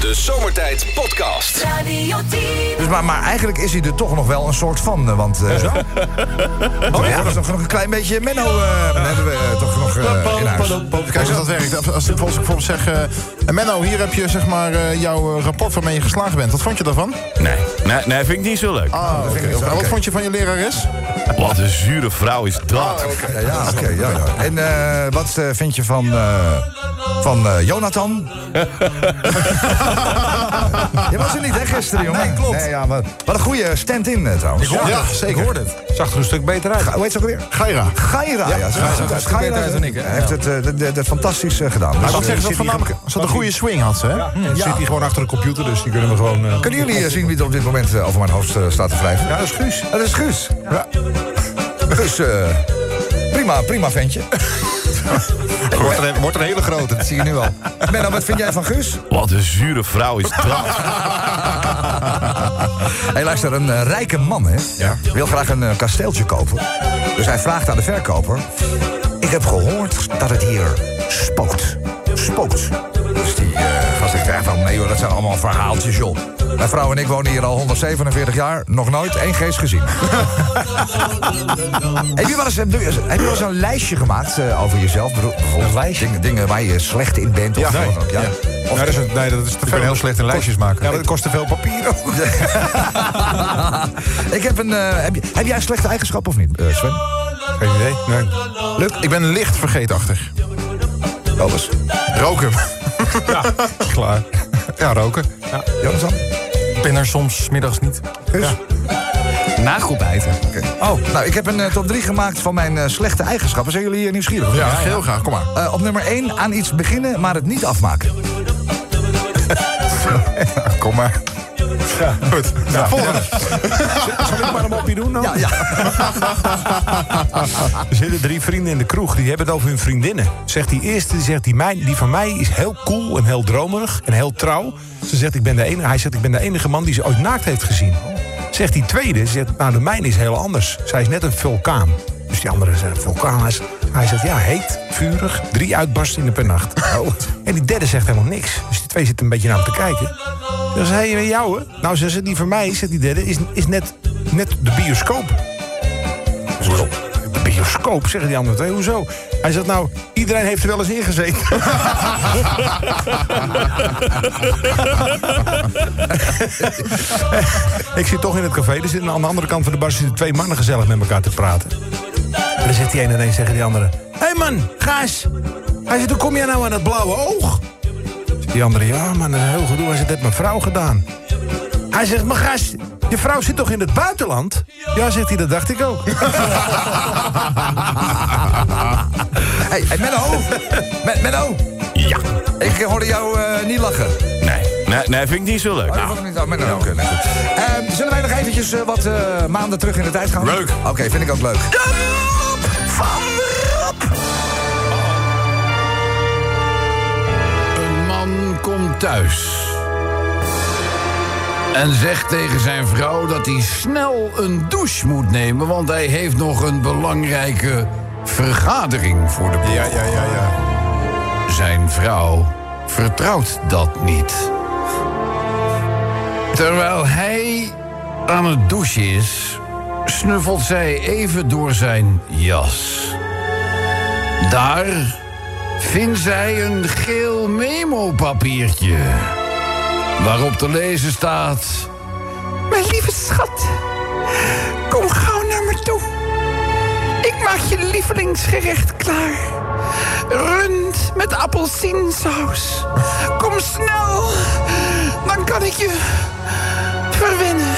De Zomertijd Podcast. Radio 10. Dus maar, maar eigenlijk is hij er toch nog wel een soort van. eh, Want eh ja, er is toch nog een klein beetje Menno eh, hebben we eh, toch nog eh, in huis. Kijk hoe dat werkt. Als, als ik als ik bijvoorbeeld zeg... eh, Menno, hier heb je zeg maar eh, jouw eh, rapport waarmee je geslaagd bent. Wat vond je daarvan? Nee, nee, nee, vind ik niet zo leuk. Ah, oké. ik zo, En Wat oké. vond je van je lerares? Wat een zure vrouw is dat. Ja, ja, oké, ja, ja. En eh, wat eh, vind je van, eh, van eh, Jonathan? Je was er niet, hè, gisteren, jongen? Nee, klopt. ja, maar, wat een goede stand-in, eh, trouwens. hoorde het. Ik hoorde het. Zag er een stuk beter uit. Hoe heet ze ook weer? Gaira. Gaira. Ja, ze- zag er een stuk beter uit dan ik, hè? Hij heeft het eh, de- de- de- fantastisch eh, gedaan. Dus, Maar wat eh, zeggen ze zit dat hier voornamelijk... Ze had een goede swing, had ze, hè? Hm. Dan Zit hij gewoon achter de computer, dus die kunnen we gewoon... eh, Kunnen jullie eh, zien wie er op dit moment eh, over mijn hoofd eh, staat te wrijven? Ja, dat is Guus. Dat is Guus. Ja. Guus, eh, prima, prima ventje. wordt, een, wordt een hele grote, dat zie je nu al. Menno, wat vind jij van Guus? Wat een zure vrouw is Ah. dat. Hé, luister, een eh, rijke man hè, wil graag een eh, kasteeltje kopen. Dus hij vraagt aan de verkoper... Ik heb gehoord dat het hier spookt. Spookt. Dus die eh gast zegt eh, van... Nee hoor, dat zijn allemaal verhaaltjes, joh. Mijn vrouw en ik wonen hier al 147 jaar. Nog nooit één geest gezien. heb, je wel eens, heb je wel eens een lijstje gemaakt eh, over jezelf? Bedoel, Bijvoorbeeld dingen, dingen waar je slecht in bent? Of Ja, wat nee. dan ook, ja. Ja. Of- Nou, dat is een- nee, dat is te ben veel. heel slecht in lijstjes maken. Ja, maar dat kost te veel papier ook. ik heb een, eh, heb, je- heb jij een slechte eigenschap of niet, eh, Sven? Geen idee. Nee. Leuk. Ik ben licht vergeetachtig. Alles. Roken. Klaar. Ja, roken. Jonathan? Ik ben er soms middags niet. Guus? Nagelbijten. Oh, nou, ik heb een eh, top 3 gemaakt van mijn eh, slechte eigenschappen. Zijn jullie hier nieuwsgierig? of Ja, niet? heel graag. Kom maar. Eh, op nummer 1, aan iets beginnen, maar het niet afmaken. Kom maar. Goed. Nou, volgende. Zal ik maar een mopje doen dan? Ja, ja. Er zitten drie vrienden in de kroeg, die hebben het over hun vriendinnen. Zegt die eerste, die zegt, die, mijn, die van mij is heel cool en heel dromerig en heel trouw. Ze zegt, ik ben de enige, hij zegt, ik ben de enige man die ze ooit naakt heeft gezien. Zegt die tweede, ze zegt, nou de mijne is heel anders. Zij is net een vulkaan. Dus die andere zijn vulkaan. Hij zegt- Hij zegt, ja, heet, vurig, drie uitbarstingen per nacht. En die derde zegt helemaal niks. Dus die twee zitten een beetje naar hem te kijken. Dan zei hij, jou hè? Nou, zegt ze, die van mij, zegt die derde, is, is net, net de bioscoop. Hoezo? De bioscoop, zeggen die anderen twee. Hoezo? Hij zegt nou, iedereen heeft er wel eens in gezeten. ik zit toch in het café. Er zitten aan de andere kant van de bar zitten twee mannen gezellig met elkaar te praten. En dan zegt die ene ineens tegen die andere... Hé hey man, gaas. Hij zegt, hoe kom jij nou aan dat blauwe oog? Zegt Die andere, ja man, dat is heel gedoe. Hij zegt, dat heeft mijn vrouw gedaan. Hij zegt, maar gast, je vrouw zit toch in het buitenland? Ja, zegt hij, dat dacht ik ook. Hey, hey, Menno! Men- Menno! Ja. Ik hoorde jou eh, niet lachen. Nee, nee, nee, vind ik niet zo leuk. Nou. Oh, dat was niet- oh, Menno, oké, nee, goed. Ehm, zullen wij nog eventjes eh, wat eh, maanden terug in de tijd gaan? Leuk. Oké, vind ik ook leuk. Een man komt thuis. En zegt tegen zijn vrouw dat hij snel een douche moet nemen, want hij heeft nog een belangrijke vergadering voor de boeg. Ja, ja, ja, ja. Zijn vrouw vertrouwt dat niet. Terwijl hij aan het douchen is, snuffelt zij even door zijn jas. Daar vindt zij een geel memo-papiertje. Waarop te lezen staat. Mijn lieve schat, kom gauw naar me toe. Ik maak je lievelingsgerecht klaar. Rund met appelsiensaus. Kom snel, dan kan ik je verwennen.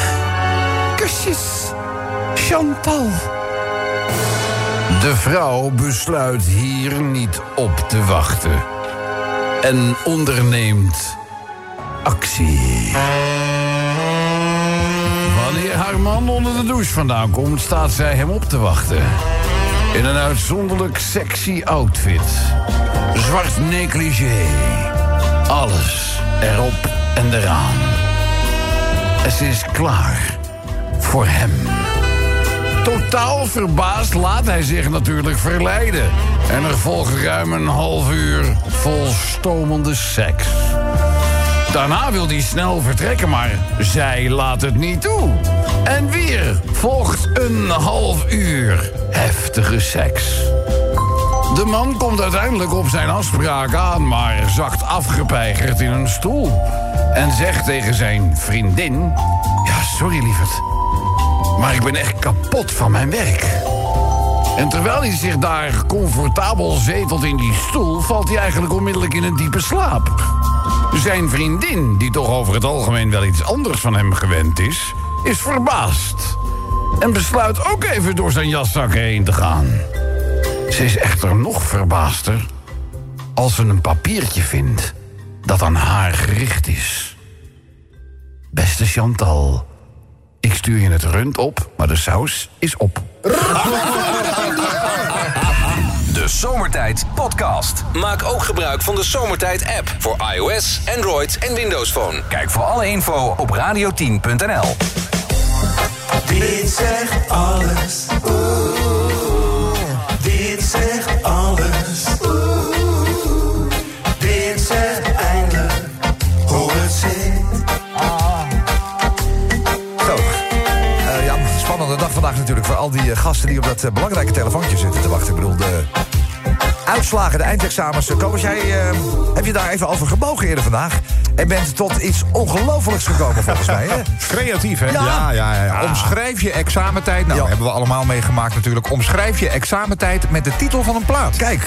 Kusjes, Chantal. De vrouw besluit hier niet op te wachten. En onderneemt actie. Wanneer haar man onder de douche vandaan komt, staat zij hem op te wachten. In een uitzonderlijk sexy outfit. Zwart negligé. Alles erop en eraan. En ze is klaar voor hem. Totaal verbaasd laat hij zich natuurlijk verleiden. En er volgt ruim een half uur vol stomende seks. Daarna wil hij snel vertrekken, maar zij laat het niet toe. En weer volgt een half uur heftige seks. De man komt uiteindelijk op zijn afspraak aan, maar zakt afgepeigerd in een stoel. En zegt tegen zijn vriendin: Ja, sorry lieverd, maar ik ben echt kapot van mijn werk. En terwijl hij zich daar comfortabel zetelt in die stoel, valt hij eigenlijk onmiddellijk in een diepe slaap. Zijn vriendin, die toch over het algemeen wel iets anders van hem gewend is, is verbaasd. En besluit ook even door zijn jaszak heen te gaan. Ze is echter nog verbaasder als ze een papiertje vindt dat aan haar gericht is. Beste Chantal, ik stuur je het rund op, maar de saus is op. De Zomertijd Podcast. Maak ook gebruik van de Zomertijd app voor iOS, Android en Windows Phone. Kijk voor alle info op radio10.nl. Dit zegt alles. Oeh. Dit zegt alles. Oeh. Dit zegt eindelijk hoe het zit. Zo. Eh, ja, spannende dag vandaag natuurlijk voor al die eh, gasten die op dat eh, belangrijke telefoontje zitten te wachten. Ik bedoel, de uitslagen, de eindexamens. eh, Kobus, jij eh, heb je daar even over gebogen eerder vandaag. En bent tot iets ongelofelijks gekomen volgens mij. Hè? Ah. Creatief, hè? Ja, ja, Nou ja, Omschrijf je examentijd. Nou, Ja. hebben we allemaal meegemaakt natuurlijk. Omschrijf je examentijd met de titel van een plaat. Kijk,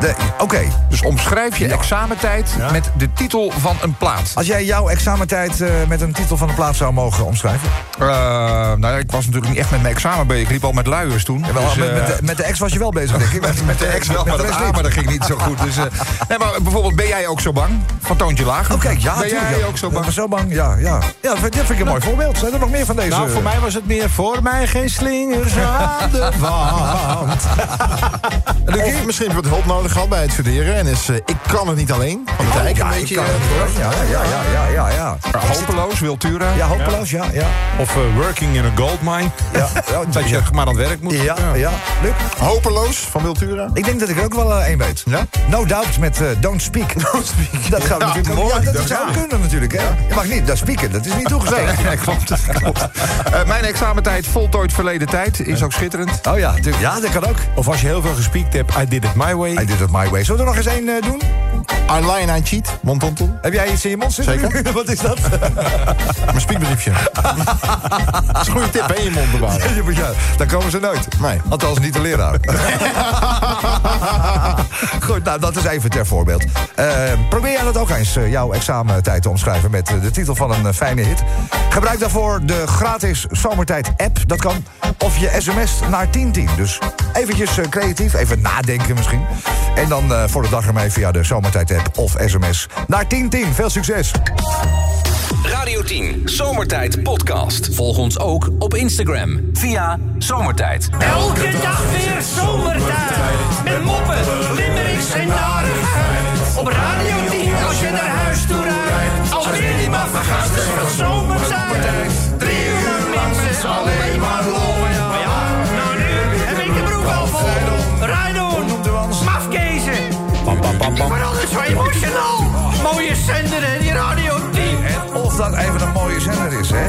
de- oké. Dus omschrijf je examentijd Ja. met de titel van een plaat. Als jij jouw examentijd eh, met een titel van een plaat zou mogen omschrijven. Eh, nou ja, ik was natuurlijk niet echt met mijn examen bezig. Ik liep al met luiers toen. Wel, Dus, met, eh, met, de, met de ex was je wel bezig, denk ik. met, met de ex wel, maar dat rest A, niet. maar dat ging niet zo goed. Dus, eh, nee, maar bijvoorbeeld, ben jij ook zo bang? Van toontje lager? Oh, kijk, ja, Ben tuurlijk, jij ja. ook zo Ik bang? ben zo bang, ja. ja. ja dat vind dat vind ik een mooi voorbeeld. Zijn er nog meer van deze? Nou, voor mij was het meer voor mij geen slingers aan de wand. Of misschien wat hulp nodig had bij het studeren. En is, eh, ik kan het niet alleen. Van de Ja, dijk ik een kan beetje. het, hoor. Ja, ja, ja, ja, ja, ja. eh, hopeloos, Wiltura. Ja, hopeloos, ja, ja. Of eh, working in a gold mine. Ja, ja, Dat je ja. maar aan het werk moet. Ja, ja. Luc? Hopeloos van Wiltura. Ik denk dat ik er ook wel eh, één weet. Ja? No Doubt met eh, Don't Speak. Don't Speak. Dat gaan we Ja, natuurlijk mooi, ook- ja, dat dat zou ja. kunnen natuurlijk, hè. Je mag niet, dat spieken, dat is niet toegestaan. Nee, klopt. klopt. Eh, mijn examentijd voltooid verleden tijd. Is ook schitterend. Oh ja, natuurlijk. Ja, dat kan ook. Of als je heel veel gespiekt hebt, I did it my way. Hij did it my way. Zullen we er nog eens één eh, doen? Online aan cheat. Montonton. Heb jij iets in je mond zitten? Zeker. Wat is dat? Mijn spiekbriefje. dat is een goede tip, hè? Je mond bewaren. Ja, maar ja, daar komen ze nooit. Nee. Althans, niet de leraar. Goed, nou, dat is even ter voorbeeld. Eh, probeer jij dat ook eens, eh, jouw examentijd te omschrijven... met eh, de titel van een eh, fijne hit. Gebruik daarvoor de gratis Zomertijd-app, dat kan. Of je sms naar 1010. Dus eventjes eh, creatief, even nadenken misschien. En dan eh, voor de dag ermee via de Zomertijd-app of sms naar 1010. Veel succes! Radio 10 Zomertijd Podcast. Volg ons ook op Instagram via Zomertijd. Elke dag weer zomertijd. Met moppen, limmerings en narigheid. Op Radio 10 als je naar huis toe rijdt. Alweer die maffe gasten van zomertijd. Drie uur lang is alleen maar lol. Maar ja, nou nu heb ik de broek al vol. Rijdon, mafkezen. Ik word altijd zo emotional. Mooie zender en die Radio 10. En of dat even een mooie zender is, hè?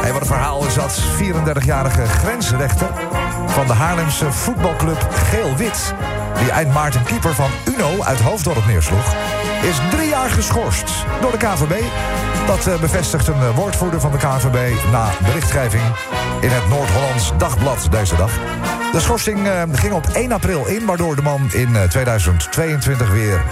Hey, wat een verhaal is dat. 34-jarige grensrechter van de Haarlemse voetbalclub Geel-Wit... die eind maart een keeper van Uno uit Hoofddorp neersloeg... is drie jaar geschorst door de KVB. Dat eh, bevestigt een eh, woordvoerder van de KVB na berichtgeving... in het Noord-Hollands Dagblad deze dag. De schorsing eh, ging op 1 april in... waardoor de man in eh, 2022 weer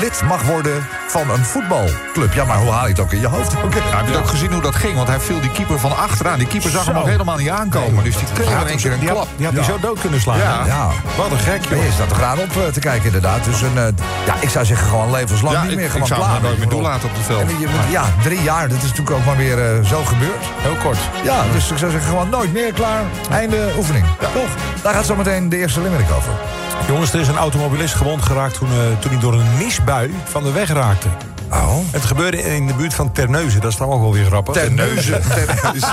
lid mag worden van een voetbalclub. Ja, maar hoe haal je het ook in je hoofd? Ja, heb je het ook gezien hoe dat ging? Want hij viel die keeper van achteraan. Die keeper zag hem Zo. nog helemaal niet aankomen. dus die kreeg in één keer een die had, klap. die had die Ja. zo dood kunnen slaan. Ja. hè? Ja. Wat een gek, joh. Nee, is dat er aan op eh, te kijken, inderdaad. Dus een, eh, ja, ik zou zeggen, gewoon levenslang Ja, niet ik- meer. ik Gewoon zou hem klaar. nooit meer Ik bedoel, toelaten op het veld. en je moet- ja, drie jaar, dat is natuurlijk ook maar weer eh, zo gebeurd. Heel kort. Ja, dus ik zou zeggen, gewoon nooit meer klaar. Einde oefening. Toch? Daar gaat zometeen de eerste limerick over. Jongens, er is een automobilist gewond geraakt toen, eh, toen hij door een misbui van de weg raakte. Oh. Het gebeurde in de buurt van Terneuzen. Dat is dan ook wel weer grappig. Terneuzen. Terneuzen.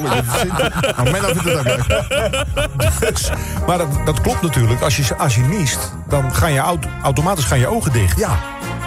Nou, Menno vindt het ook leuk. Maar dat, dat klopt natuurlijk. Als je, als je niest, dan gaan je auto, automatisch gaan je ogen dicht. Ja.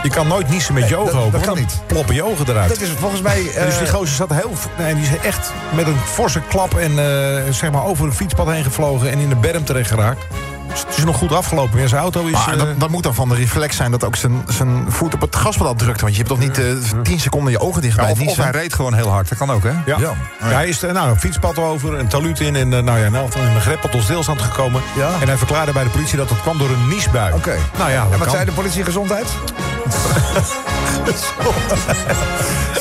Je kan nooit niezen met je Nee, ogen dat- open. dat want kan dan niet. Ploppen je ogen eruit. Dat is volgens mij, En dus die eh, gozer zat heel... Nee, die is echt met een forse klap en eh, zeg maar over een fietspad heen gevlogen... en in de berm terecht geraakt. Dus het is nog goed afgelopen. Ja, zijn auto is... Ah, Maar eh, dat, dat moet dan van de reflex zijn dat ook zijn, zijn voet op het gaspedaal drukt. Want je hebt toch niet eh, 10 seconden je ogen dicht bij of, het of niezen? hij reed gewoon heel hard, dat kan ook, hè? Ja. ja. hij is eh, nou, een fietspad over, een taluut in en eh, nou ja, nou, een greppel tot stilstand gekomen. Ja. En hij verklaarde bij de politie dat het kwam door een niesbui. Oké. Nou ja, En dat wat kan. zei de politie gezondheid?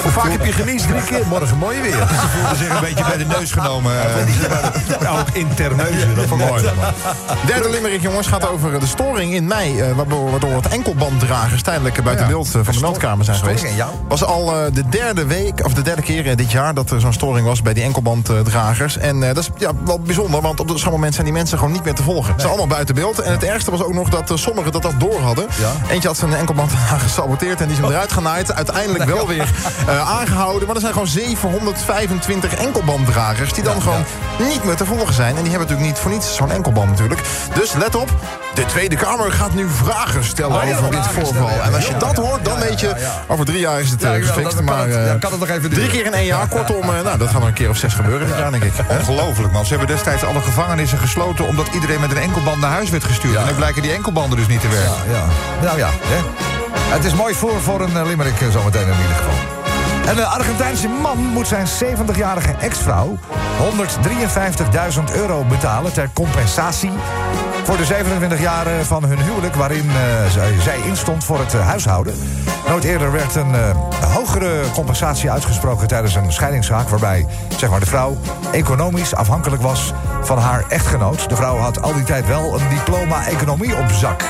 Hoe vaak heb je geniest? Drie keer. Morgen mooi weer. Ze voelde zich een beetje bij de neus genomen. eh, Nou, ook interneuzen, dat vond ik mooi. Derde limerick, jongens, gaat over de storing in mei. eh, waardoor, waardoor het enkelbanddragers tijdelijk eh, buiten Ja. beeld eh, van de Storing- meldkamer zijn storing geweest. in jou? Was al eh, de derde week, of de derde keer eh, dit jaar dat er zo'n storing was bij die enkelbanddragers. En eh, dat is ja, wel bijzonder, want op zo'n moment zijn die mensen gewoon niet meer te volgen. Ze zijn allemaal buiten beeld. En het ergste was ook nog dat eh, sommigen dat dat door hadden. Ja. Oh. Eentje had zijn enkelbanddrager gesaboteerd en die is hem eruit genaaid. Uiteindelijk wel weer eh, aangehouden. Maar er zijn gewoon 725 enkelbanddragers die dan gewoon niet meer te volgen zijn. En die hebben natuurlijk niet voor niets zo'n enkelband natuurlijk. Dus let op, de Tweede Kamer gaat nu vragen stellen Oh ja, over dit vragen voorval. stellen, ja. En als je Ja, dat ja, hoort, dan ja, ja, weet je, ja, ja. over drie jaar is het eh, Ja, jawel, gefixt. dan kan Maar het- eh, dan kan het nog even drie duren. keer in één jaar, kortom, eh, nou, dat gaat nog een keer of zes gebeuren dit jaar, denk ik. Hè? Ongelooflijk, man. Ze hebben destijds alle gevangenissen gesloten... omdat iedereen met een enkelband naar huis werd gestuurd. En dan blijken die enkelbanden dus niet te werken. Ja, Nou ja, hè. Het is mooi voor, voor een eh, limerick eh, zometeen in ieder geval. Een eh, Argentijnse man moet zijn 70-jarige ex-vrouw... 153.000 euro betalen ter compensatie... voor de 27 jaren van hun huwelijk... waarin eh, zij, zij instond voor het eh, huishouden. Nooit eerder werd een eh, hogere compensatie uitgesproken... tijdens een scheidingszaak waarbij zeg maar, de vrouw economisch afhankelijk was... van haar echtgenoot. De vrouw had al die tijd wel een diploma economie op zak.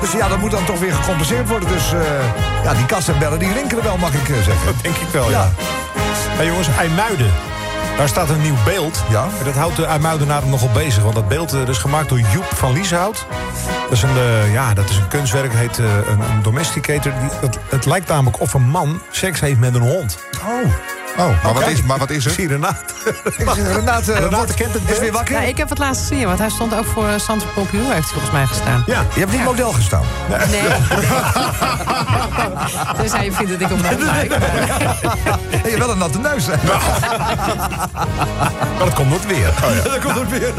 Dus ja, dat moet dan toch weer gecompenseerd worden. Dus eh, ja, die kasten en bellen die rinkelen wel, mag ik eh, zeggen. Denk ik wel, ja. Ja. Hey jongens, IJmuiden. Daar staat een nieuw beeld. Ja. En Dat houdt de IJmuidenaren nogal bezig. Want dat beeld eh, dat is gemaakt door Joep van Lieshout. Dat is een, eh, ja, dat is een kunstwerk, heet eh, een, een domesticator. Die, dat, het lijkt namelijk of een man seks heeft met een hond. Oh. Oh, maar, wat is, maar wat is Ik er? zie Renate. Renate, eh, Renate wordt- kent het is beeld. weer wakker. Ja, ik heb het laatst gezien, want hij stond ook voor eh, Santa Pompeu, heeft hij volgens mij gestaan. Ja. Je hebt niet model gestaan. Nee. dus hij vindt dat ik op mij lijk. En je hebt wel een natte neus. hè? Maar dat komt ook weer. Oh, dat komt ook weer.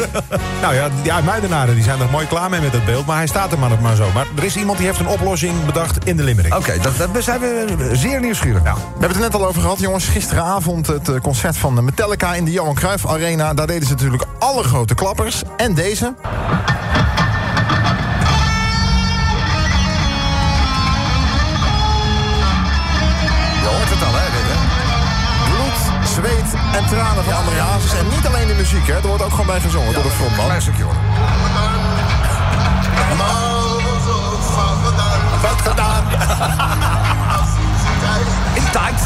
nou ja, die IJmuidenaren die zijn er mooi klaar mee met dat beeld. Maar hij staat er maar, nog maar zo. Maar er is iemand die heeft een oplossing bedacht in de Limerick. Oké, dat, dat zijn we zeer nieuwsgierig. Nou, We hebben het er net al over gehad, jongens. Gisteravond het eh, concert van Metallica in de Johan Cruijff Arena. Daar deden ze natuurlijk alle grote klappers. En deze. je hoort het al, hè? dit, hè? Bloed, zweet en tranen van André Hazes. En niet alleen de muziek, hè. Er wordt ook gewoon bij gezongen door de frontman. Klein stukje, hoor. Wat gedaan. In tijd.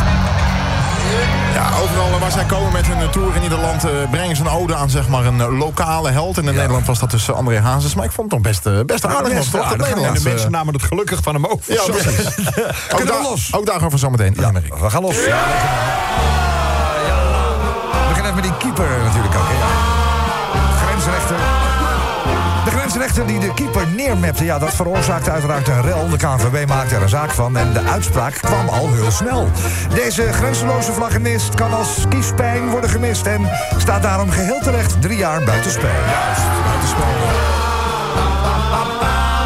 Ja, overal waar zij komen met hun tour in ieder land... eh, brengen ze een ode aan, zeg maar, een eh, lokale held. En in Nederland was dat dus eh, André Hazes. Maar ik vond het toch best, eh, best aardig. best want toch, aardig, dat ja. En de Nederlandse- mensen namen het gelukkig van hem over. Ja, Zo. precies. Ook, we daar- los? ook daarover zometeen. Ja, meteen. we gaan los. We beginnen even met die keeper natuurlijk ook. hè, Ja. Grensrechter. De grensrechter die de keeper neermepte, ja, dat veroorzaakte uiteraard een rel. De KNVB maakte er een zaak van en de uitspraak kwam al heel snel. Deze grenzeloze vlaggenist kan als kiespijn worden gemist... en staat daarom geheel terecht drie jaar buitenspel. Juist, buitenspel.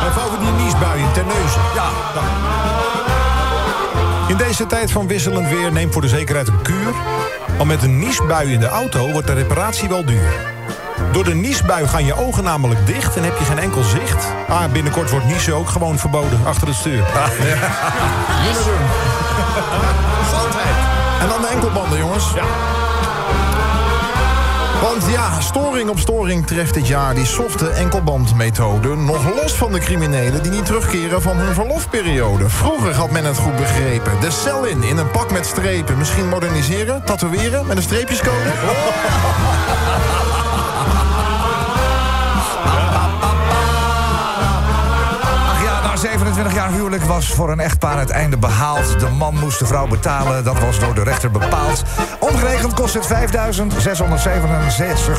Even over die niesbuien ten neuzen. Ja, In deze tijd van wisselend weer neem voor de zekerheid een kuur. Want met een niesbui in de auto wordt de reparatie wel duur. Door de niesbui gaan je ogen namelijk dicht en heb je geen enkel zicht. Ah, binnenkort wordt niezen ook gewoon verboden achter het stuur. En dan de enkelbanden, jongens. Want ja, storing op storing treft dit jaar die softe enkelbandmethode... nog los van de criminelen die niet terugkeren van hun verlofperiode. Vroeger had men het goed begrepen. De cel in, in een pak met strepen. Misschien moderniseren, tatoeëren met een streepjescode? Ach ja, na 27 jaar huwelijk was voor een echtpaar het einde behaald. De man moest de vrouw betalen, dat was door de rechter bepaald. Omgerekend kost het 5.667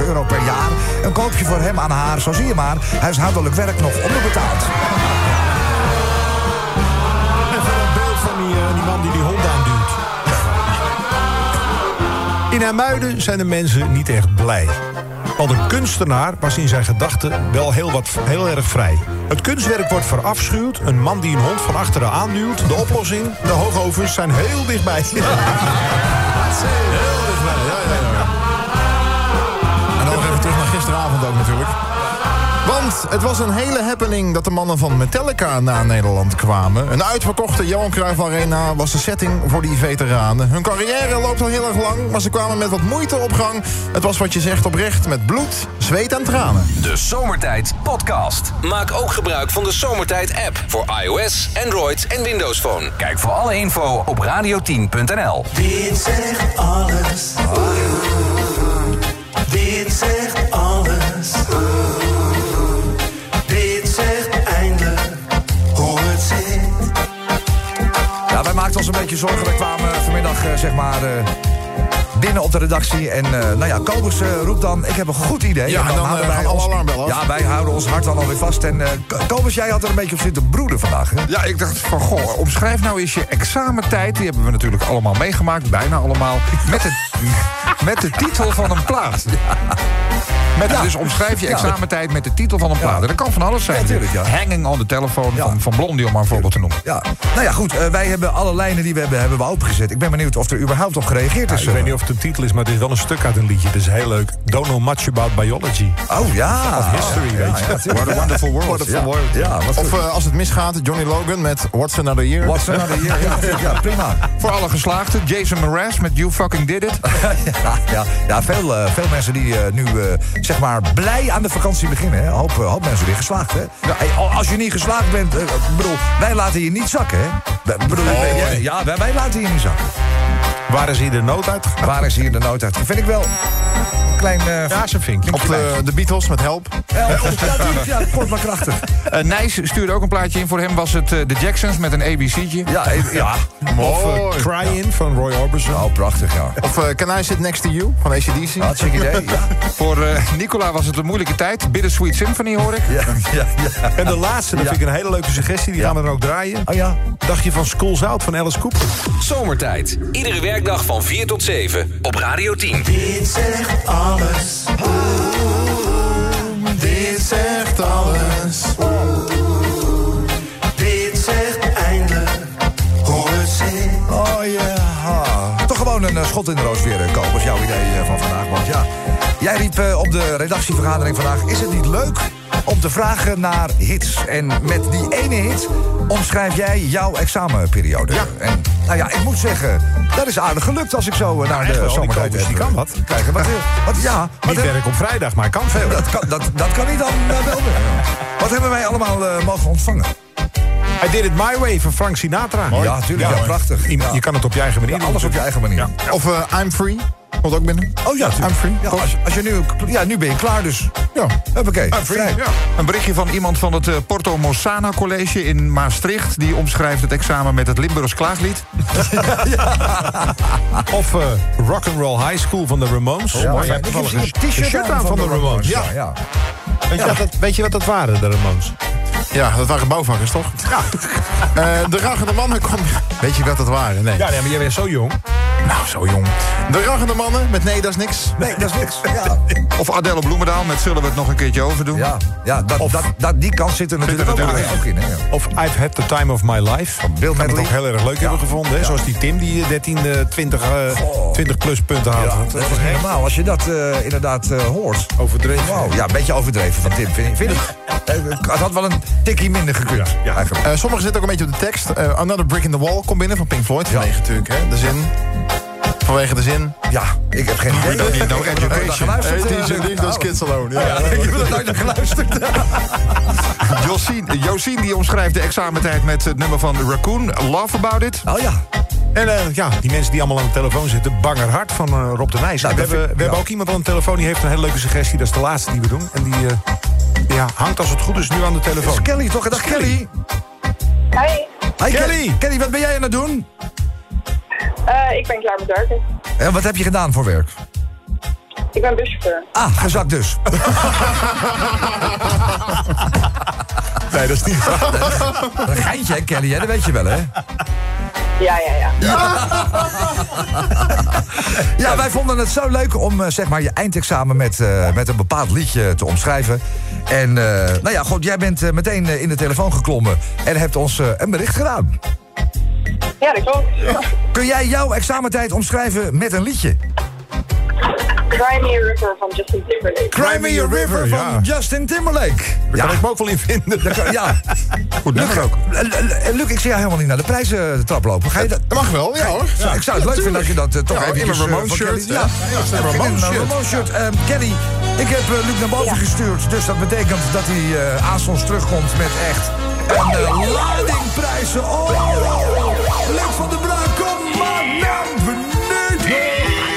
euro per jaar. Een koopje voor hem aan haar, zo zie je maar. Huishoudelijk werk nog onderbetaald. En voor een eh, In Hermuiden zijn de mensen niet echt blij. Want een kunstenaar was in zijn gedachten wel heel, wat, heel erg vrij. Het kunstwerk wordt verafschuwd, een man die een hond van achteren aanduwt. De oplossing, de hoogovens zijn heel dichtbij. Heel dichtbij, ja, ja, ja. En dan nog even terug naar gisteravond ook natuurlijk. Want het was een hele happening dat de mannen van Metallica naar Nederland kwamen. Een uitverkochte Johan Cruijff Arena was de setting voor die veteranen. Hun carrière loopt al heel erg lang, maar ze kwamen met wat moeite op gang. Het was wat je zegt oprecht met bloed, zweet en tranen. De Zomertijd Podcast. Maak ook gebruik van de Zomertijd app voor iOS, Android en Windows Phone. Kijk voor alle info op radio10.nl. Dit zegt alles. Ah. Dit zegt alles. Dit zegt eindelijk hoe het zit. Ja, wij maakten ons een beetje zorgen. We kwamen vanmiddag eh, zeg maar eh, binnen op de redactie. En eh, nou ja, Kobus eh, roept dan, ik heb een goed idee. Ja, en dan, houden eh, gaan alle alarmbellen af. Ja, wij houden ons hart dan alweer vast. En eh, K- Kobus, jij had er een beetje op zitten broeden vandaag. Hè? Ja, ik dacht van, goh, omschrijf nou eens je examentijd. Die hebben we natuurlijk allemaal meegemaakt, bijna allemaal. Met de, met de titel van een plaat. Met, Dus omschrijf je Ja. examentijd met de titel van een plaat. En Dat kan van alles zijn. Ja, tuurlijk, ja. Hanging on the telephone van, van Blondie, om maar een voorbeeld te noemen. Ja, nou ja, goed. eh, wij hebben alle lijnen die we hebben, hebben we opengezet. Ik ben benieuwd of er überhaupt op gereageerd is. eh. ik weet niet of het een titel is, maar het is wel een stuk uit een liedje. Het is heel leuk. Don't know much about biology. Oh ja. Of history, Ja, weet je. ja, natuurlijk. What a wonderful world. Ja. Ja, wat Of goed. eh, als het misgaat, Johnny Logan met What's Another Year. What's another year? Ja, natuurlijk, ja, prima. Voor alle geslaagden, Jason Mraz met You Fucking Did It. Ja, ja, ja veel, eh, veel mensen die eh, nu eh, zeg maar blij aan de vakantie beginnen. Hè. Een Hoop, eh, hoop mensen weer geslaagd. Hè. Hey, al- als je niet geslaagd bent, eh, ik bedoel, wij laten je niet zakken. Hè. Wij- bedoel, wij- Oh. ja, ja, wij, wij laten je niet zakken. Waar is hier de nood uit? Waar is hier de nood uit? Vind ik wel een klein... eh, Razenvink. Of de, de Beatles met Help. eh, ja, natuurlijk, ja, kort maar krachtig. Eh, Nijs stuurde ook een plaatje in. Voor hem was het eh, The Jacksons met een ABC'tje. Ja, eh, ja. Of eh, Cry In van Roy Orbison. Oh, prachtig, ja. Of eh, Can I Sit Next to You van ACDC. Hartstikke idee. Ja, Voor eh, Nicola was het een moeilijke tijd. Bittersweet Symphony hoor ik. ja, ja. ja. En de laatste, dat Ja. vind ik een hele leuke suggestie. Die gaan we dan ook draaien. Oh ja. Dagje van Schools Out van Alice Cooper. Zomertijd. Iedere werkdag van 4 tot 7 op Radio 10. Dit zegt alles. Dit zegt alles. Dit zegt eindelijk hoe het zit. Oh ja. Toch gewoon een eh, schot in de roos weer, eh, Koop, was jouw idee eh, van vandaag. Want ja, jij riep eh, op de redactievergadering vandaag... is het niet leuk om te vragen naar hits? En met die ene hit omschrijf jij jouw examenperiode. Ja. En nou ja, ik moet zeggen, dat is aardig gelukt als ik zo eh, naar echt de wel, die zomertijd Kobus, die heb, kan eh, wat. Kijken. Wat, eh, wat, ja, wat Niet heb- werk op vrijdag, maar kan Nee, veel. dat, kan, dat, dat kan niet dan eh, wel weer. Wat hebben wij allemaal eh, mogen ontvangen? I Did It My Way van Frank Sinatra. Ja, tuurlijk, ja, hoor. prachtig. Je, Ja. je kan het op je eigen manier Ja, alles op je eigen manier. Of eh, I'm Free. Komt ook binnen. Oh ja, I'm free. Ja, als, als je nu, ja, nu ben je klaar dus. Ja. Huppakee. Ah, vrij. Een berichtje van iemand van het eh, Porto Mossana College in Maastricht. Die omschrijft het examen met het Limburgs klaaglied. doen. Of eh Rock'n'Roll High School van de Ramones. Ja, Maar maar je hebt Oh, ik heb toevallig hier een shirt aan van, de Ramones. Ja, ja. Weet, je wat dat, weet je wat dat waren, de Ramones? Ja, dat waren bouwvakkers, toch? Ja. de ragende mannen kwam... Weet je wat dat waren? Nee. Ja, nee, maar jij bent zo jong. Nou, zo jong. De ragende mannen met nee, dat is niks. Nee, dat is niks. Ja, Of Adele Bloemendaal met Zullen we het nog een keertje overdoen? ja, ja dat, dat, dat, die kans zit er natuurlijk ook, natuurlijk ook in. Hè. Of I've Had The Time Of My Life. Van Bill kan het Medley. ook heel erg leuk hebben gevonden. Hè? Zoals die Tim die eh, 13, eh, 20, eh, Goh. 20 plus punten haalt. Ja, dat is niet normaal. Als je dat eh, inderdaad eh, hoort. Overdreven. Wauw, ja, een beetje overdreven van Tim, vind, vind ik. Eh, Het had wel een tikkie minder gekund. Ja, eigenlijk. Eh, sommigen zitten ook een beetje op de tekst. Eh, Another Brick in the Wall komt binnen van Pink Floyd. Vanwege natuurlijk, hè? De zin. Vanwege de zin. Eh, ja, ik heb geen idee. need no Ik heb er nooit naar education. geluisterd, eh, Hey, natuurlijk. these those kids alone. Ja. Nou, Ik heb er nooit naar geluisterd. Josien, eh, Josien die omschrijft de examentijd met het nummer van Raccoon. Love About It. Oh ja. En eh, ja, die mensen die allemaal aan de telefoon zitten, bangerhard van eh, Rob de Nijs. Nou, we dat hebben, vind- we hebben ja. ook iemand aan de telefoon die heeft een hele leuke suggestie. Dat is de laatste die we doen. En die eh, ja, hangt als het goed is nu aan de Dat is telefoon. Kelly, toch? Dag Kelly. Hoi, Hi, Kelly. Kelly, wat ben jij aan het doen? Eh, ik ben klaar met werken. En wat heb je gedaan voor werk? Ik ben buschauffeur. Ah, gezakt dus. Nee, dat is niet waar. Een geintje, hè, Kelly, hè? dat weet je wel, hè? Ja, ja, ja. Ja, Ja, wij vonden het zo leuk om eh, zeg maar, je eindexamen met, eh, met een bepaald liedje te omschrijven. En eh, nou ja, god, jij bent eh, meteen eh, in de telefoon geklommen en hebt ons eh, een bericht gedaan. Ja, dat klopt. Kun jij jouw examentijd omschrijven met een liedje? Cry Me a River van Justin Timberlake. Cry Me a River van Justin Timberlake. Daar kan ik me ook wel in vinden. ja. Goed, Luc, ook. Luc, ik zie jou helemaal niet naar de prijzentrap lopen. Ga je dat... mag wel, ja hoor. Ik zou het leuk vinden als je dat eh, toch Ja, even... in een Ramones shirt, hè? Ja, Ja, ja, een ik vind Ramones een shirt. Ramones shirt. Ehm, Kenny, ik heb eh, Luc naar boven gestuurd. Dus dat betekent dat hij eh, aanstonds terugkomt met echt een eh, lading prijzen. Oh, Luc van der Braak, kom maar naar beneden.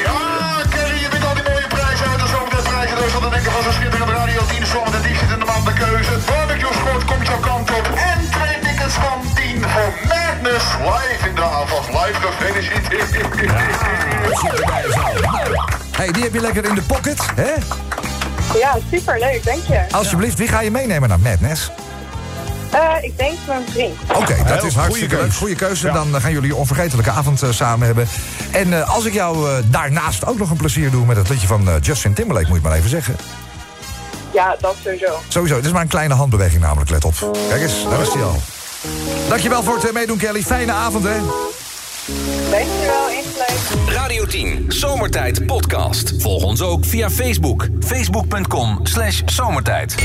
Ah, Kerry, je bent al die mooie prijzen uit de zomertijd prijzen. Dus wat dan denken van zo'n schitterende radio 10 zomertijd die zit in de maand bij keuze. Barbecue Squad komt jouw kant op. En twee tickets van 10 voor Madness live in de avond. Live gefeliciteerd. hey, die heb je lekker in de pocket, hè? Ja, super leuk, dank je. Alsjeblieft, wie ga je meenemen naar Madness? Eh, ik denk mijn vriend. Oké, dat is hartstikke goede leuk. Goede keuze. Dan eh, gaan jullie een onvergetelijke avond eh, samen hebben. En eh, als ik jou eh, daarnaast ook nog een plezier doe met het liedje van eh, Justin Timberlake, moet je maar even zeggen. Ja, dat sowieso. Sowieso, het is maar een kleine handbeweging namelijk, let op. Kijk eens, daar is hij al. Dankjewel voor het eh, meedoen, Kelly. Fijne avond, hè. Dankjewel, ingeleid. Radio 10, Zomertijd Podcast. Volg ons ook via Facebook. Facebook.com slash zomertijd.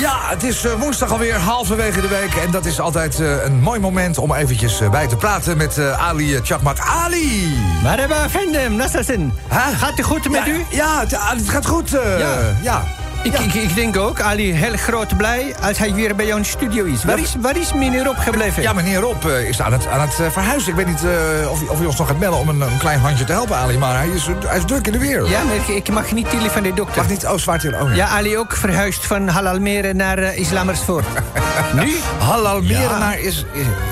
Ja, het is eh, woensdag alweer, halverwege de week. En dat is altijd eh, een mooi moment om eventjes eh, bij te praten met eh, Ali eh, Chakmak. Ali! Maar hebben vrienden, Nassasin. Gaat het goed met Ja, u? Ja, het, het gaat goed. eh, ja. Ik, Ik, ik denk ook, Ali, heel groot blij als hij weer bij jouw studio is. Waar is, waar is meneer Rob gebleven? Ja, meneer Rob eh, is aan het, aan het eh, verhuizen. Ik weet niet eh, of, hij- of hij ons nog gaat bellen om een, een klein handje te helpen, Ali. Maar hij is, eh, hij is druk in de weer. Ja, maar ik, ik mag niet tillen van de dokter. Mag niet, oh, zwaar tillen. Oh, ja. ja, Ali ook verhuisd van Halalmere naar eh, Islamersvoort. nu? Halalmere naar is,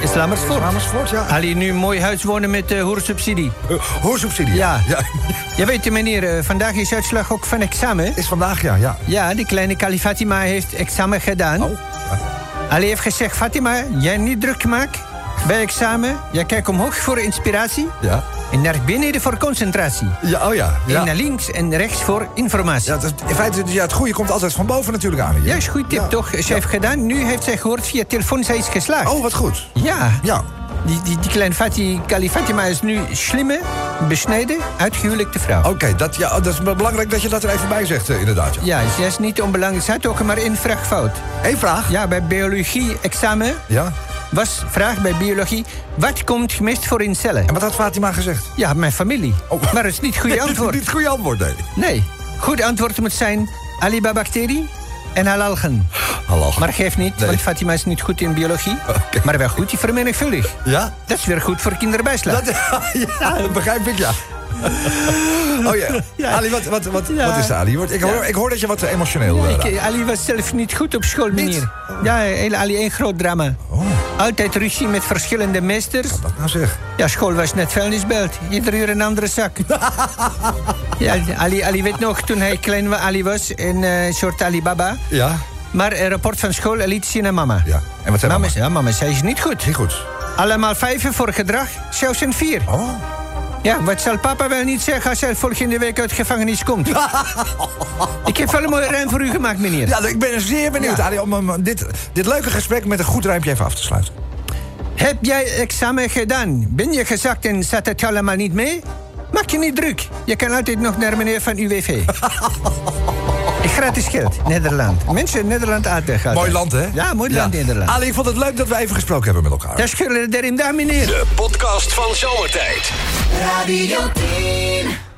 Islamersvoort. Islamersvoort, ja. Ali, nu een mooi huis wonen met eh hoersubsidie. hoersubsidie? Ja. ja. Je weet, meneer, eh, vandaag is uitslag ook van examen. Is vandaag, ja. Ja, ja die kleine Kali Fatima heeft examen gedaan. Oh. Ali heeft gezegd, Fatima, jij niet druk maken bij examen. Jij kijkt omhoog voor inspiratie. Ja. En naar beneden voor concentratie. Ja, oh ja. ja. En naar links en rechts voor informatie. Ja, dat- in feite, ja, het goede komt altijd van boven natuurlijk aan. Ja, is goed tip toch? Ze heeft gedaan. Nu heeft zij gehoord via telefoon, zij is geslaagd. Oh, wat goed. Ja. ja. Die, die, die kleine Fati, Kali Fatima is nu slimme, besneden, uitgehuwelijkde vrouw. Oké, dat, ja, dat is belangrijk dat je dat er even bij zegt, eh, inderdaad. Ja. Ja, ze is niet onbelangrijk. Ze had ook maar één vraag fout. Eén vraag? Ja, bij biologie-examen ja. was vraag bij biologie... wat komt gemist voor in cellen? En wat had Fatima gezegd? Ja, mijn familie. Maar dat is niet het goede Dit is antwoord. niet Oh. het goede antwoord, nee. Nee. Goed antwoord moet zijn Alibabacterie en halalgen. Halalgen. Maar geef niet, want Fatima is niet goed in biologie. Maar wel goed in vermenigvuldig. Ja? Dat is weer goed voor kinderbijslag. Dat, ja, dat begrijp ik, ja. Oh ja. Ali, wat, wat, wat, wat is er, Ali? Je wordt- Ik Ja. hoor, ik hoor dat je wat eh, emotioneel eh, raakt. Ik, Ali was zelf niet goed op school, meneer. Ja, heel- Ali, één groot drama. Altijd ruzie met verschillende meesters. Oh. Wat nou zeg? Ja, school was net vuilnisbelt. Ieder uur een andere zak. ja, Ali, Ali weet nog, toen hij klein wa- Ali was, in eh, een soort Alibaba. Ja. Maar een rapport van school liet zien aan mama. Ja, en wat zei mama? Ja, mama zei, is niet goed. Niet goed. Allemaal vijven voor gedrag, zelfs een vier. Oh. Ja, wat zal papa wel niet zeggen als hij volgende week uit gevangenis komt? ik heb wel een mooie ruim voor u gemaakt, meneer. Ja, ik ben zeer benieuwd, Ali, om om dit, dit leuke gesprek met een goed rijmpje even af te sluiten. Heb jij examen gedaan? Ben je gezakt en zat het allemaal niet mee? Maak je niet druk. Je kan altijd nog naar meneer van UWV. Gratis geld, Nederland. Mensen in Nederland aardig. Mooi land, hè? Ah. Ja, mooi land, Nederland. Ali, ik vond het leuk dat we even gesproken hebben met elkaar. Dat is schulden erin, daar, meneer. De podcast van Zomertijd. Radio 10.